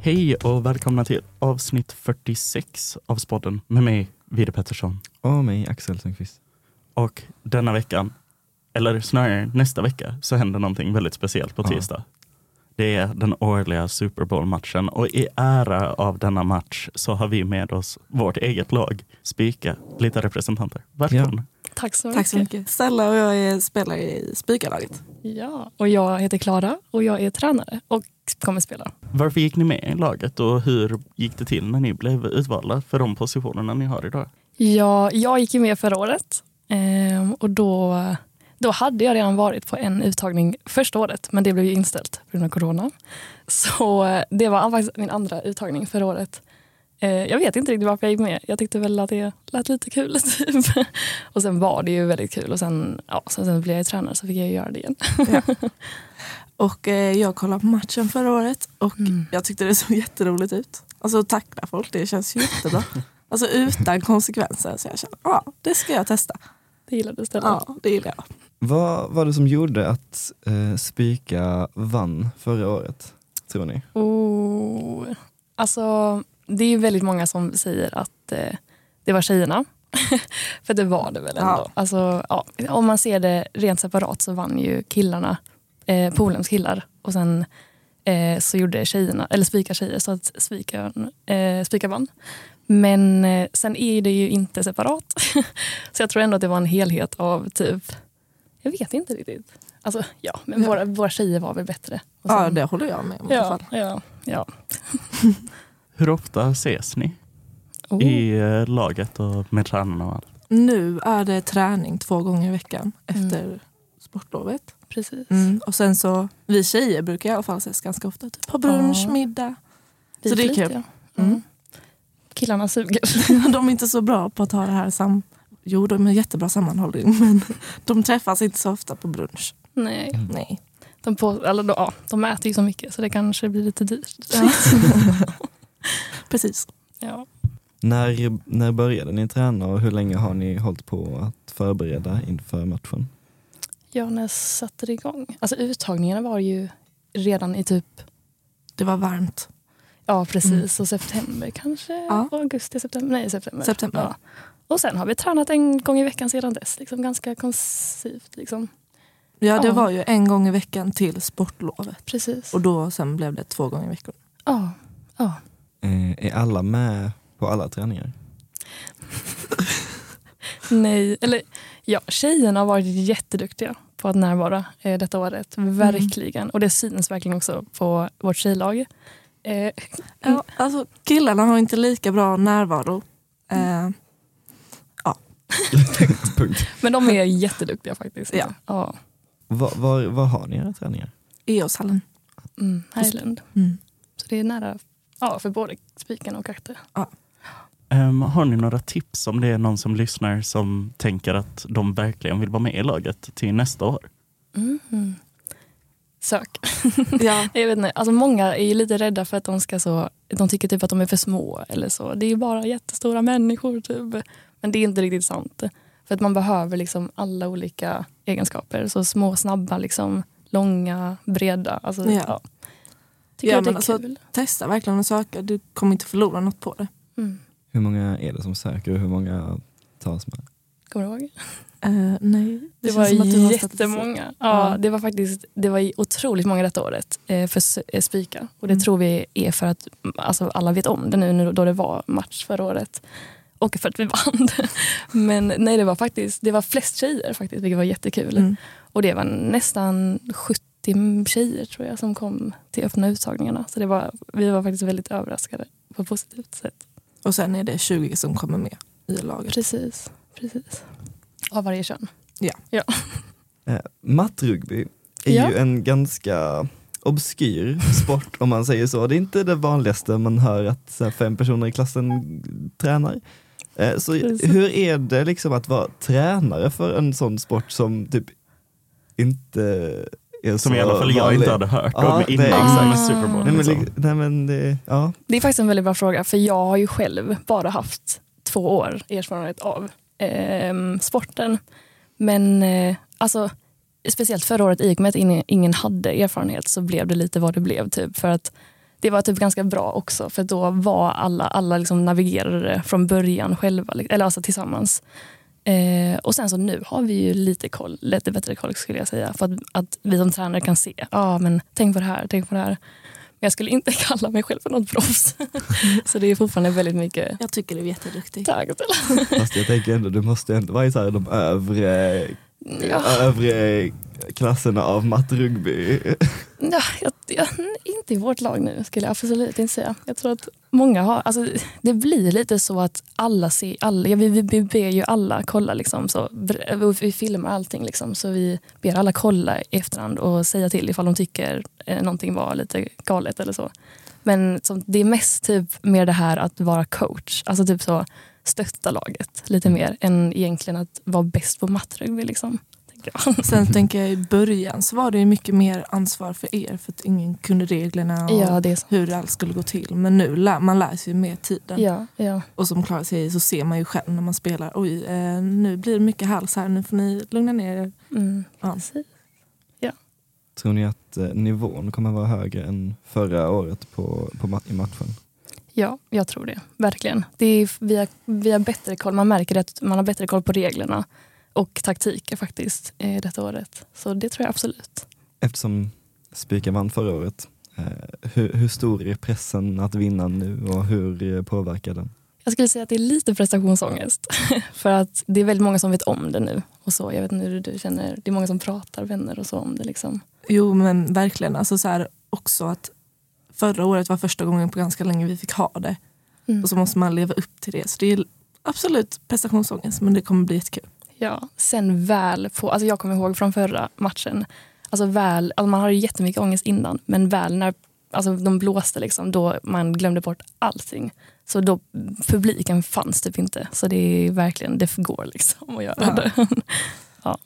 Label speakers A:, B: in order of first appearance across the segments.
A: Hej och välkomna till avsnitt 46 av Spodden med mig, Vide Pettersson.
B: Och mig, Axel Sundqvist.
A: Och denna veckan, eller snarare nästa vecka, så händer någonting väldigt speciellt på
B: Ja.
A: tisdag. Det är den årliga Super Bowl-matchen och i ära av denna match så har vi med oss vårt eget lag, Spika, lite representanter. Välkomna!
C: Tack så mycket.
D: Tack så mycket. Stella och jag är spelare i Spikalaget.
C: Ja, och jag heter Klara och jag är tränare och kommer spela.
A: Varför gick ni med i laget och hur gick det till när ni blev utvalda för de positionerna ni har idag?
C: Ja, jag gick ju med förra året ehm, och då, då hade jag redan varit på en uttagning första året men det blev ju inställt på grund av corona. Så eh, det var faktiskt min andra uttagning förra året. Eh, Jag vet inte riktigt varför jag gick med. Jag tyckte väl att det lät lite kul. Typ. Och sen var det ju väldigt kul och sen, ja, sen, sen blev jag ju tränare så fick jag ju göra det igen.
D: Och eh, jag kollade på matchen förra året och
C: Mm.
D: jag tyckte det såg jätteroligt ut. Alltså tackla folk, det känns ju jättebra. Alltså utan konsekvenser. Så jag kände, ja det ska jag testa.
C: Det gillade Stella.
D: Ja, det gillar jag.
B: Vad var det som gjorde att eh, Spika vann förra året, tror ni?
C: Oh. Alltså, det är ju väldigt många som säger att eh, det var tjejerna. För det var det väl ändå.
D: Ja.
C: Alltså, ja, om man ser det rent separat så vann ju killarna, eh, Polens killar. Och sen eh, så gjorde tjejerna, eller spika tjejer, så att spika, eh, spika vann. Men eh, sen är det ju inte separat. så jag tror ändå att det var en helhet av typ, jag vet inte riktigt. Alltså, ja, men
D: Ja.
C: Våra, våra tjejer var väl bättre. Och
D: Ja,
C: sen-
D: det håller jag med om i alla
C: Ja,
D: fall.
C: ja, ja.
A: Hur ofta ses ni
C: Oh.
A: i eh, laget och med tränarna och allt?
D: Nu är det träning två gånger i veckan
C: Mm.
D: efter sportlovet.
C: Precis.
D: Mm. Och sen så, vi tjejer brukar i alla fall ses ganska ofta. Typ på brunch,
C: Ja.
D: middag.
C: Vi
D: Så det är
C: flyter.
D: kul.
C: Mm.
D: Mm.
C: Killarna suger.
D: De är inte så bra på att ha det här sam... Jo, de är jättebra sammanhållning men de träffas inte så ofta på brunch.
C: Nej.
D: Mm.
B: Mm.
D: Nej.
C: De, på, eller, då- ja, de äter ju så mycket så det kanske blir lite dyrt.
D: Precis.
C: Ja.
B: När, när började ni träna och hur länge har ni hållit på att förbereda inför matchen?
C: ja, när jag satte det igång. Alltså uttagningarna var ju redan i typ,
D: Det var varmt.
C: ja precis, och september kanske?
D: Mm. Ja.
C: Augusti, september? Nej, september.
D: September.
C: Ja. Och sen har vi tränat en gång i veckan sedan dess, liksom ganska konsivt. Liksom.
D: Ja, det
C: Ja.
D: var ju en gång i veckan till sportlovet.
C: Precis.
D: Och då sen blev det två gånger i veckan.
C: Ja. ja.
B: Eh, är alla med på alla träningar?
C: Nej, eller ja, tjejerna har varit jätteduktiga på att närvara eh, detta året. Verkligen. Och det syns verkligen också på vårt tjejlag. Eh,
D: Ja, alltså, killarna har inte lika bra närvaro. Eh,
B: Punkt.
C: men de är jätteduktiga faktiskt.
D: Ja.
C: ja.
B: Var, var, var har ni era träningar?
D: Eoshallen.
C: Mm, Highland.
D: Mm.
C: Så det är nära ja, för både Spiken och Akte.
A: Ehm, har ni några tips om det är någon som lyssnar som tänker att de verkligen vill vara med i laget till nästa år?
C: Mm. Sök.
D: Ja.
C: Jag vet inte. Alltså många är ju lite rädda för att de ska så, de tycker typ att de är för små eller så. Det är ju bara jättestora människor typ. Men det är inte riktigt sant. För att man behöver liksom alla olika egenskaper. Så små, snabba, liksom, långa, breda. Alltså,
D: Ja.
C: ja. Tycker
D: Ja,
C: att det
D: men
C: är
D: alltså-
C: kul.
D: Testa verkligen att söka. Du kommer inte förlora något på det.
C: Mm.
B: Hur många är det som söker och hur många tas med?
C: Kommer du ihåg?
D: Eh, nej. Det,
C: Det,
D: känns
C: var
D: som att du har statistik.
C: jättemånga. Ja,
D: Ja.
C: Det var faktiskt det var ju otroligt många detta året eh, för s- eh, Spika. Och det
D: Mm.
C: tror vi är för att mm, alltså, alla vet om det nu nu då det var match förra året. Och för att vi vann. Men nej, det var faktiskt det var flest tjejer faktiskt, vilket var jättekul.
D: Mm.
C: Och det var nästan 70 tjejer tror jag som kom till öppna uttagningarna. Så det var, vi var faktiskt väldigt överraskade på ett positivt sätt.
D: Och sen är det 20 som kommer med i laget.
C: Precis. precis. Av varje kön.
B: Eh, mattrugby är
C: Ja.
B: ju en ganska obskyr sport om man säger så. Det är inte det vanligaste man hör att så här, fem personer i klassen tränar. Eh, så
C: Precis.
B: hur är det liksom att vara tränare för en sån sport som typ inte är
A: Som
B: så
A: i alla fall jag
B: vanlig?
A: inte hade hört om
B: Ja, det
A: innan
B: är
A: med
C: exakt.
A: Super Bowl.
B: Nej men,
A: liksom.
B: li- nej, men det, ja.
C: Det är faktiskt en väldigt bra fråga, för jag har ju själv bara haft två år erfarenhet av ehm, sporten. Men eh, alltså, speciellt förra året, i och med att ingen- ingen hade erfarenhet, så blev det lite vad det blev. Typ, för att det var typ ganska bra också för då var alla, alla liksom navigerade det från början själva, li- eller alltså tillsammans. Eh, och sen så nu har vi ju lite koll, lite bättre koll skulle jag säga. För att, att vi som tränare kan se, ja ah, men tänk på det här, tänk på det här. Men jag skulle inte kalla mig själv för något proffs. så det är fortfarande väldigt mycket
D: Jag tycker du är jätteduktig.
C: tack. Till.
B: Fast jag tänker ändå, du måste ändå vara i så här, de övre,
C: Ja.
B: övre klasserna av matterugby.
C: Ja, jag, jag, inte i vårt lag nu skulle jag absolut inte säga. Jag tror att många har, alltså, det blir lite så att alla ser, alla, ja, vi, vi, vi ber ju alla kolla liksom, så, br- vi filmar allting liksom, så vi ber alla kolla i efterhand och säga till ifall de tycker eh, någonting var lite galet eller så. Men som, det är mest typ mer det här att vara coach, alltså typ så stötta laget lite mer än egentligen att vara bäst på mattrugby liksom. Tänker jag.
D: Sen tänker jag i början så var det ju mycket mer ansvar för er för att ingen kunde reglerna och
C: Ja, det är så.
D: hur allt skulle gå till. Men nu lär man lär sig ju med tiden.
C: Ja, ja.
D: Och som Klara säger så ser man ju själv när man spelar. Oj, eh, nu blir det mycket hals här. Nu får ni lugna ner er.
C: Mm.
D: Ja.
C: Precis.
B: Tror ni att eh, nivån kommer vara högre än förra året på, på, ma- i matchen?
C: Ja, jag tror det. Verkligen. Det är, vi, har, vi har bättre koll. Man märker att man har bättre koll på reglerna och taktiker faktiskt eh, detta året. Så det tror jag absolut.
B: Eftersom Spika vann förra året, eh, hur, hur stor är pressen att vinna nu och hur eh, påverkar den?
C: Jag skulle säga att det är lite prestationsångest. För att det är väldigt många som vet om det nu. Och så, jag vet inte hur du känner. Det är många som pratar, vänner och så om det. Liksom.
D: Jo men verkligen. Alltså så här, också att förra året var första gången på ganska länge vi fick ha det.
C: Mm.
D: Och så måste man leva upp till det. Så det är absolut prestationsångest men det kommer bli jättekul.
C: Ja, sen väl på, alltså jag kommer ihåg från förra matchen, alltså väl, alltså man hade ju jättemycket ångest innan, men väl när alltså de blåste liksom, då man glömde bort allting. Så då, publiken fanns typ inte, så det är verkligen, det går liksom att göra
D: Ja.
C: det.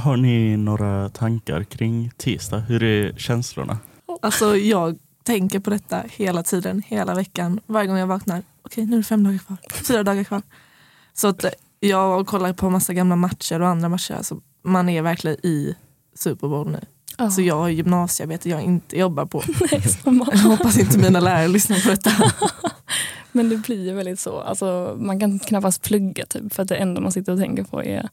A: Har ni några tankar kring tisdag? Hur är känslorna?
D: Alltså jag tänker på detta hela tiden, hela veckan. Varje gång jag vaknar. Okej, nu är det fem dagar kvar. Fyra dagar kvar. Så att eh, jag kollar på massa gamla matcher och andra matcher. Alltså man är verkligen i Super Bowl nu.
C: Ja.
D: Så jag har gymnasiearbete jag inte jobbar på.
C: Nej, samma.
D: Jag hoppas inte mina lärare lyssnar på detta.
C: Men det blir ju väldigt så, alltså, man kan knappast plugga typ, för att det enda man sitter och tänker på är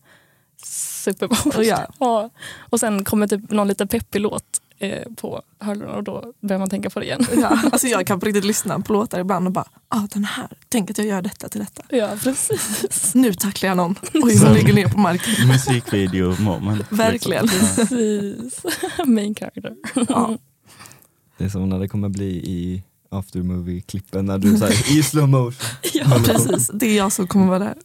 C: Super Bowl.
D: Och ja.
C: Ja. Och sen kommer typ någon lite peppig låt eh, på hörlurarna och då börjar man tänka på det igen.
D: Ja, alltså jag kan på riktigt lyssna på låtar ibland och bara, ah, den här, tänk att jag gör detta till detta.
C: Ja, precis.
D: Nu tacklar jag någon. Oj, hon ligger ner på marken.
A: Musikvideo moment.
D: Verkligen.
A: Liksom.
C: precis. Main character.
D: Ja.
B: Det är som när det kommer bli i aftermovie-klippen när du säger i slow motion.
C: Ja,
D: Precis, det är jag som kommer vara där.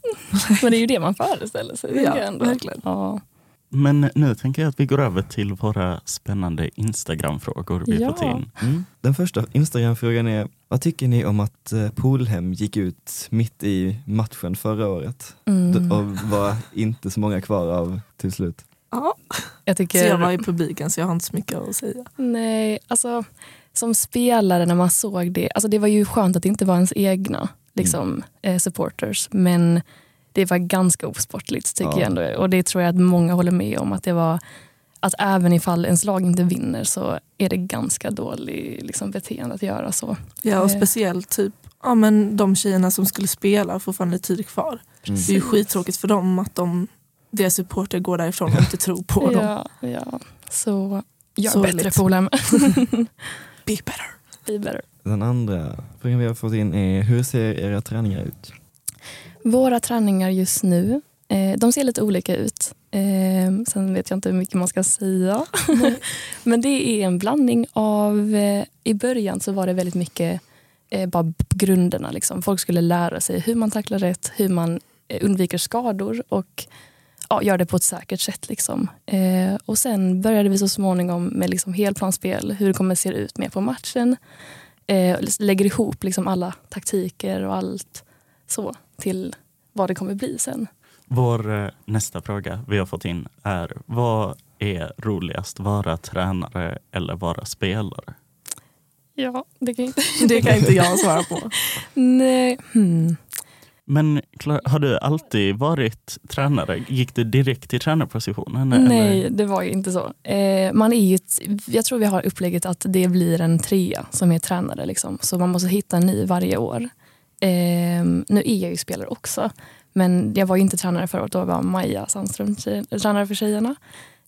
C: men det är ju det man föreställer sig. tänker
D: Ja,
C: jag ändå.
D: verkligen.
C: Ja.
A: Men nu tänker jag att vi går över till våra spännande Instagram-frågor vi
C: Ja.
A: fått in.
B: Mm. Den första Instagram-frågan är, vad tycker ni om att eh, Polhem gick ut mitt i matchen förra året? D-
C: Mm.
B: Och var inte så många kvar av till slut.
D: Ja.
C: Jag
D: Så
C: tycker...
D: jag var i publiken så jag har inte så mycket att säga.
C: Nej, alltså som spelare när man såg det, alltså det var ju skönt att det inte var ens egna liksom, eh, supporters, men det var ganska osportligt tycker
B: Ja.
C: jag ändå. Och det tror jag att många håller med om, att det var att även ifall ens lag inte vinner så är det ganska dålig liksom, beteende att göra så.
D: Ja, och
C: Eh.
D: speciellt typ ja, men de tjejerna som skulle spela har fortfarande tid kvar. Det är ju skittråkigt för dem att de, deras supporter går därifrån och inte tror på dem.
C: Ja, ja. Så jag är
D: Sorgligt.
C: bättre polare.
D: Be better.
C: Be better.
B: Den andra frågan vi har fått in är, hur ser era träningar ut?
C: Våra träningar just nu, eh, de ser lite olika ut. Eh, sen vet jag inte hur mycket man ska säga. Men det är en blandning av... Eh, I början så var det väldigt mycket eh, bara b- grunderna. Liksom. Folk skulle lära sig hur man tacklar rätt, hur man eh, undviker skador och ja, gör det på ett säkert sätt. Liksom. Eh, och sen började vi så småningom med liksom helplanspel, hur det kommer se ut mer på matchen. Eh, lägger ihop liksom alla taktiker och allt så till vad det kommer bli sen.
A: Vår eh, nästa fråga vi har fått in är, vad är roligast, vara tränare eller vara spelare?
C: Ja, det kan inte...
D: Det kan inte jag svara på.
C: Nej. Hmm.
A: Men Clara, har du alltid varit tränare? Gick du direkt till tränarpositionen?
C: Nej,
A: Eller?
C: det var ju inte så. Eh, man är ju ett, jag tror vi har upplägget att det blir en trea som är tränare. Liksom. Så man måste hitta en ny varje år. Eh, nu är jag ju spelare också, men jag var ju inte tränare förra året. Då var Maja Sandström tje- tränare för tjejerna.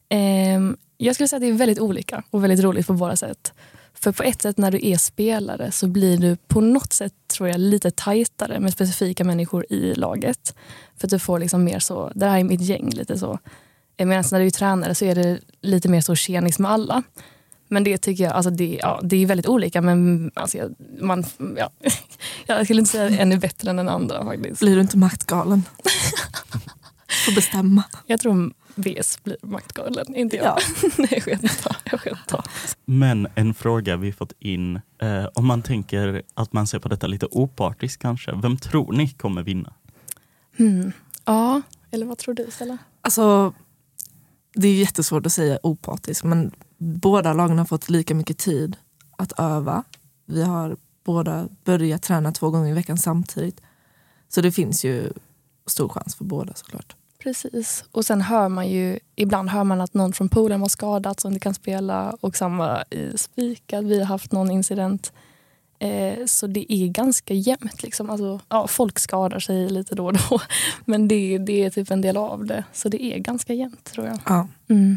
C: Eh, jag skulle säga att det är väldigt olika och väldigt roligt på båda sätt. För på ett sätt när du är spelare så blir du på något sätt tror jag lite tajtare med specifika människor i laget. För att du får liksom mer så, det här är mitt gäng lite så. Eh, Medan när du är tränare så är det lite mer så tjenis med alla. Men det tycker jag, alltså det, ja, det är väldigt olika men alltså jag, man, ja, jag skulle inte säga att en är bättre än den andra faktiskt.
D: Blir du inte maktgalen? Får bestämma.
C: Jag tror VS blir maktgalen, inte jag. Nej, jag skämtar. Jag skämtar.
A: Men en fråga vi fått in, eh, om man tänker att man ser på detta lite opartiskt kanske, vem tror ni kommer vinna?
C: Mm. Ja, eller vad tror du Stella?
D: Alltså, det är jättesvårt att säga opartisk men båda lagen har fått lika mycket tid att öva. Vi har båda börjat träna två gånger i veckan samtidigt. Så det finns ju stor chans för båda såklart.
C: Precis. Och sen hör man ju, ibland hör man att någon från poolen var skadad som inte kan spela och samma i spikad, vi har haft någon incident. Eh, så det är ganska jämnt. Liksom. Alltså, ja, folk skadar sig lite då och då men det, det är typ en del av det. Så det är ganska jämnt tror jag.
D: Ja.
C: Mm.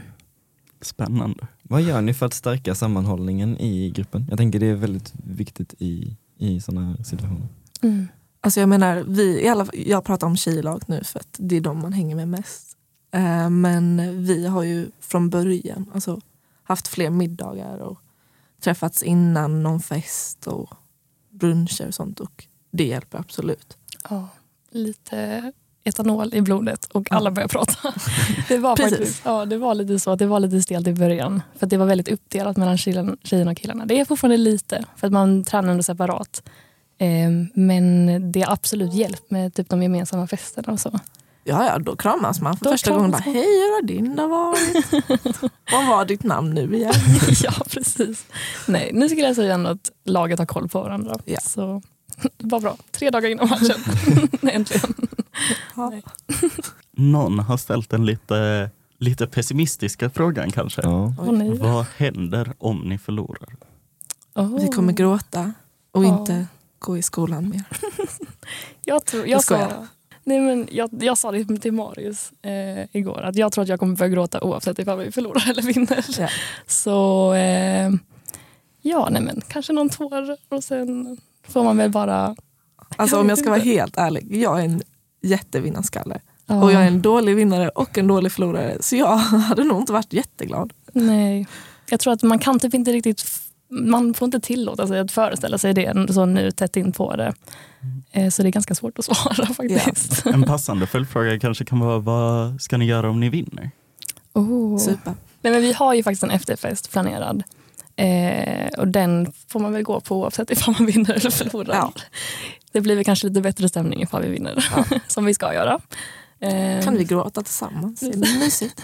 A: Spännande.
B: Vad gör ni för att stärka sammanhållningen i gruppen? Jag tänker det är väldigt viktigt i, i sådana här situationer.
C: Mm.
D: Alltså jag menar, vi, i alla, jag pratar om tjejlag nu för att det är de man hänger med mest. Eh, men vi har ju från början alltså, haft fler middagar och träffats innan någon fest och bruncher och sånt och det hjälper absolut.
C: Ja, lite etanol i blodet och alla börjar prata. Det var,
D: Precis.
C: faktiskt, ja, det var lite så, att det var lite stelt i början. För att det var väldigt uppdelat mellan killen- tjejerna och killarna. Det är fortfarande lite, för att man tränar ändå separat. Ehm, Men det har absolut hjälpt med typ de gemensamma festerna och så.
D: Ja, ja, då kramas man för
C: Då
D: första gången. Bara,
C: kramas
D: Hej,
C: man.
D: hur har din dag varit? Vad var ditt namn nu igen?
C: ja, precis. Nej, nu skulle jag säga ändå att laget har koll på varandra.
D: Ja.
C: Så vad bra. Tre dagar innan matchen. Äntligen.
D: Ja.
C: Nej.
A: Någon har ställt den lite, lite pessimistiska frågan kanske.
B: Ja.
C: Åh, nej.
A: Vad händer om ni förlorar?
C: Åh.
D: Vi kommer gråta och
C: Oh. Ja.
D: inte gå i skolan mer.
C: Jag, tror, jag,
D: Jag
C: sa,
D: skojar.
C: nej men jag, jag sa det till Marius eh, igår att jag tror att jag kommer börja gråta oavsett ifall vi förlorar eller vinner.
D: Ja.
C: Så eh, ja, nej men, kanske någon tår och sen får man väl bara...
D: Alltså
C: Jag
D: om
C: vet
D: jag ska vara
C: inte.
D: helt ärlig, jag är en jättevinnarskalle.
C: Ja,
D: Och jag är en dålig vinnare och en dålig förlorare. Så jag hade nog inte varit jätteglad.
C: Nej. Jag tror att man kan typ inte riktigt... f- Man får inte tillåta sig att föreställa sig det så nu tätt in på det. Eh, så det är ganska svårt att svara faktiskt.
A: En passande följdfråga kanske kan vara, vad ska ni göra om ni vinner?
C: Oh.
D: Super.
C: Nej, men vi har ju faktiskt en efterfest planerad. Eh, och den får man väl gå på oavsett ifall man vinner eller förlorar.
D: Ja.
C: Det blir väl kanske lite bättre stämning ifall vi vinner, som vi ska göra. Eh,
D: Kan vi gråta tillsammans? Det är mysigt.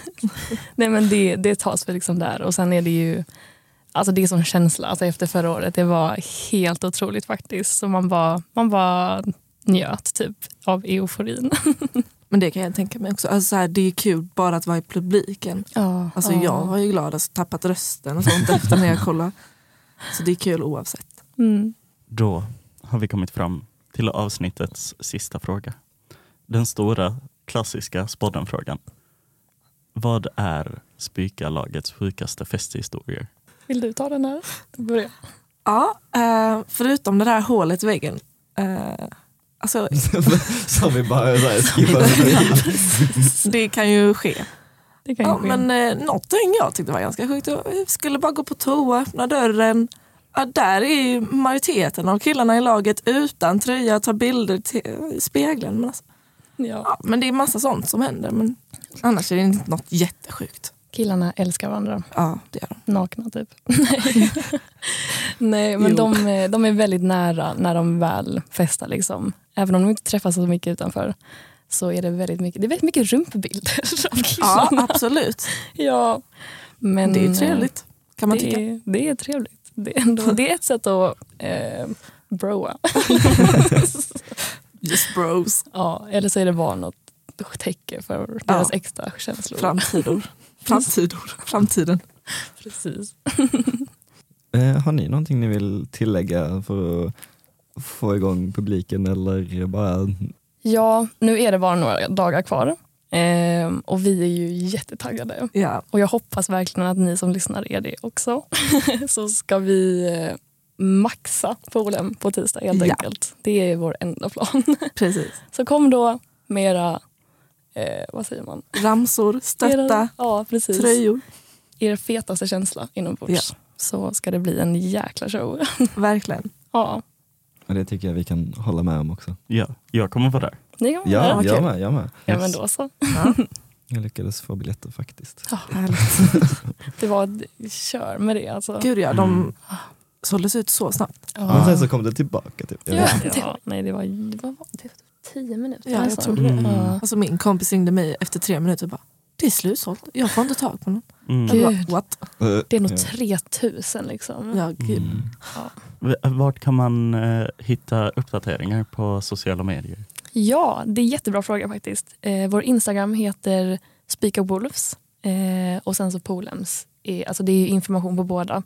C: Nej, men det, det tas väl liksom där. Och sen är det ju Alltså det är sån känsla alltså efter förra året. Det var helt otroligt faktiskt. Så man bara, man bara njöt typ av euforin.
D: Men det kan jag tänka mig också. Alltså, så här, det är kul bara att vara i publiken.
C: Ja,
D: Alltså, Jag var ju glad, alltså, tappat rösten och sånt efter när jag kollade. Så det är kul oavsett.
C: Mm.
A: Då har vi kommit fram till avsnittets sista fråga. Den stora klassiska spoddenfrågan. Vad är Spyka-lagets sjukaste festhistorier?
C: Vill du ta den här? Börja.
D: Ja, eh, förutom det där hålet i väggen. Eh, alltså,
B: så vi bara så här, skippar förbi.
D: det kan ju ske.
C: Det kan ju
D: Ja,
C: ske.
D: men eh, någonting jag tyckte var ganska sjukt. Jag skulle bara gå på toa, öppna dörren. Ja, där är ju majoriteten av killarna i laget utan tröja, tar bilder till- i spegeln. Men, alltså,
C: ja.
D: ja, men det är massa sånt som händer. Men annars är det inte något jättesjukt.
C: Killarna älskar varandra.
D: Ja, det gör de.
C: Nakna typ. Nej, Nej men
D: Jo.
C: de, är- de är väldigt nära när de väl festar. Liksom. Även om de inte träffas så mycket utanför så är det väldigt mycket, det är väldigt mycket rumpbilder av
D: Ja,
C: killarna.
D: absolut.
C: Ja. Men, eh,
D: Det är ju trevligt, kan man
C: det,
D: tycka.
C: är- det är eh, trevligt. Det är, ändå, det är ett sätt att eh, broa.
D: Just bros.
C: Ja, eller så är det bara något täcke för
D: Ja.
C: deras extra känslor.
D: Framtidor. Framtidor. Framtiden.
C: Precis.
B: Eh, har ni någonting ni vill tillägga för att få igång publiken eller bara
C: Ja, nu är det bara några dagar kvar ehm, och vi är ju jättetaggade.
D: Ja.
C: Och jag hoppas verkligen att ni som lyssnar är det också. så ska vi eh, maxa poolen på tisdag helt
D: Ja.
C: enkelt. Det är vår enda plan.
D: Precis.
C: så kom då med era, eh, vad säger man?
D: Ramsor,
C: Era,
D: stötta,
C: ja, precis.
D: tröjor.
C: Er fetaste känsla inombords. Så ska det bli en jäkla show.
D: Verkligen.
C: ja,
B: Och det tycker jag vi kan hålla med om också.
A: Ja, jag kommer vara där.
C: ni kan vara
B: Ja,
C: där.
B: jag
D: okej.
B: med, jag med.
C: Ja, men då så.
B: Jag lyckades få biljetter faktiskt.
D: Härligt.
C: Det var ett kör med det alltså.
D: Gud ja, de
A: Mm.
D: såldes ut så snabbt.
B: Men sen
C: Ja.
B: så kom det tillbaka typ. Jag
C: Ja.
B: vet.
C: Ja. Nej, det var, det var det var tio minuter.
D: Ja, jag
C: nästan.
D: tror det.
A: Mm.
C: Ja.
D: Alltså min kompis ringde mig efter tre minuter och bara det är slutsålt, jag får inte tag på någon.
A: Mm.
C: Gud.
D: Jag bara, What?
B: Eh,
C: Det
B: ja.
C: är nog 3000 liksom.
D: Ja, gud.
A: Mm.
C: Ja.
A: V- Vart kan man eh, hitta uppdateringar på sociala medier?
C: Ja, det är en jättebra fråga faktiskt. Eh, vår Instagram heter Speak of Wolves eh, och sen så Polems. Är, alltså det är ju information på båda.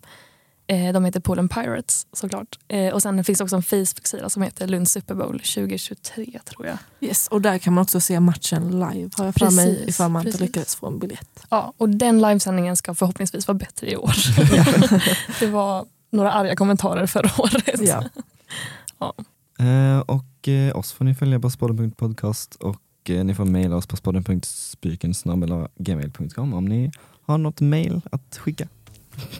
C: Eh, de heter Polem Pirates såklart. Eh, och sen finns också en Facebook-sida som heter Lund Super Bowl 2023 tror jag.
D: Yes, och där kan man också se matchen live har jag för mig
C: Precis,
D: ifall man inte
C: precis.
D: lyckades få en biljett.
C: Ja, och den livesändningen ska förhoppningsvis vara bättre i år. det var några arga kommentarer förra året.
D: Ja.
B: Eh, och eh, oss får ni följa på spodden.podcast och eh, ni får mejla oss på spodden.spyken.gmail.com om ni har något mejl att skicka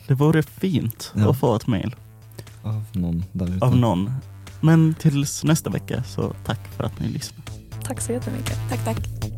A: Det vore fint
B: Ja.
A: att få ett mejl
B: av någon där ute.
A: av någon. Men tills nästa vecka så tack för att ni lyssnade.
C: Tack så jättemycket.
D: Tack, tack.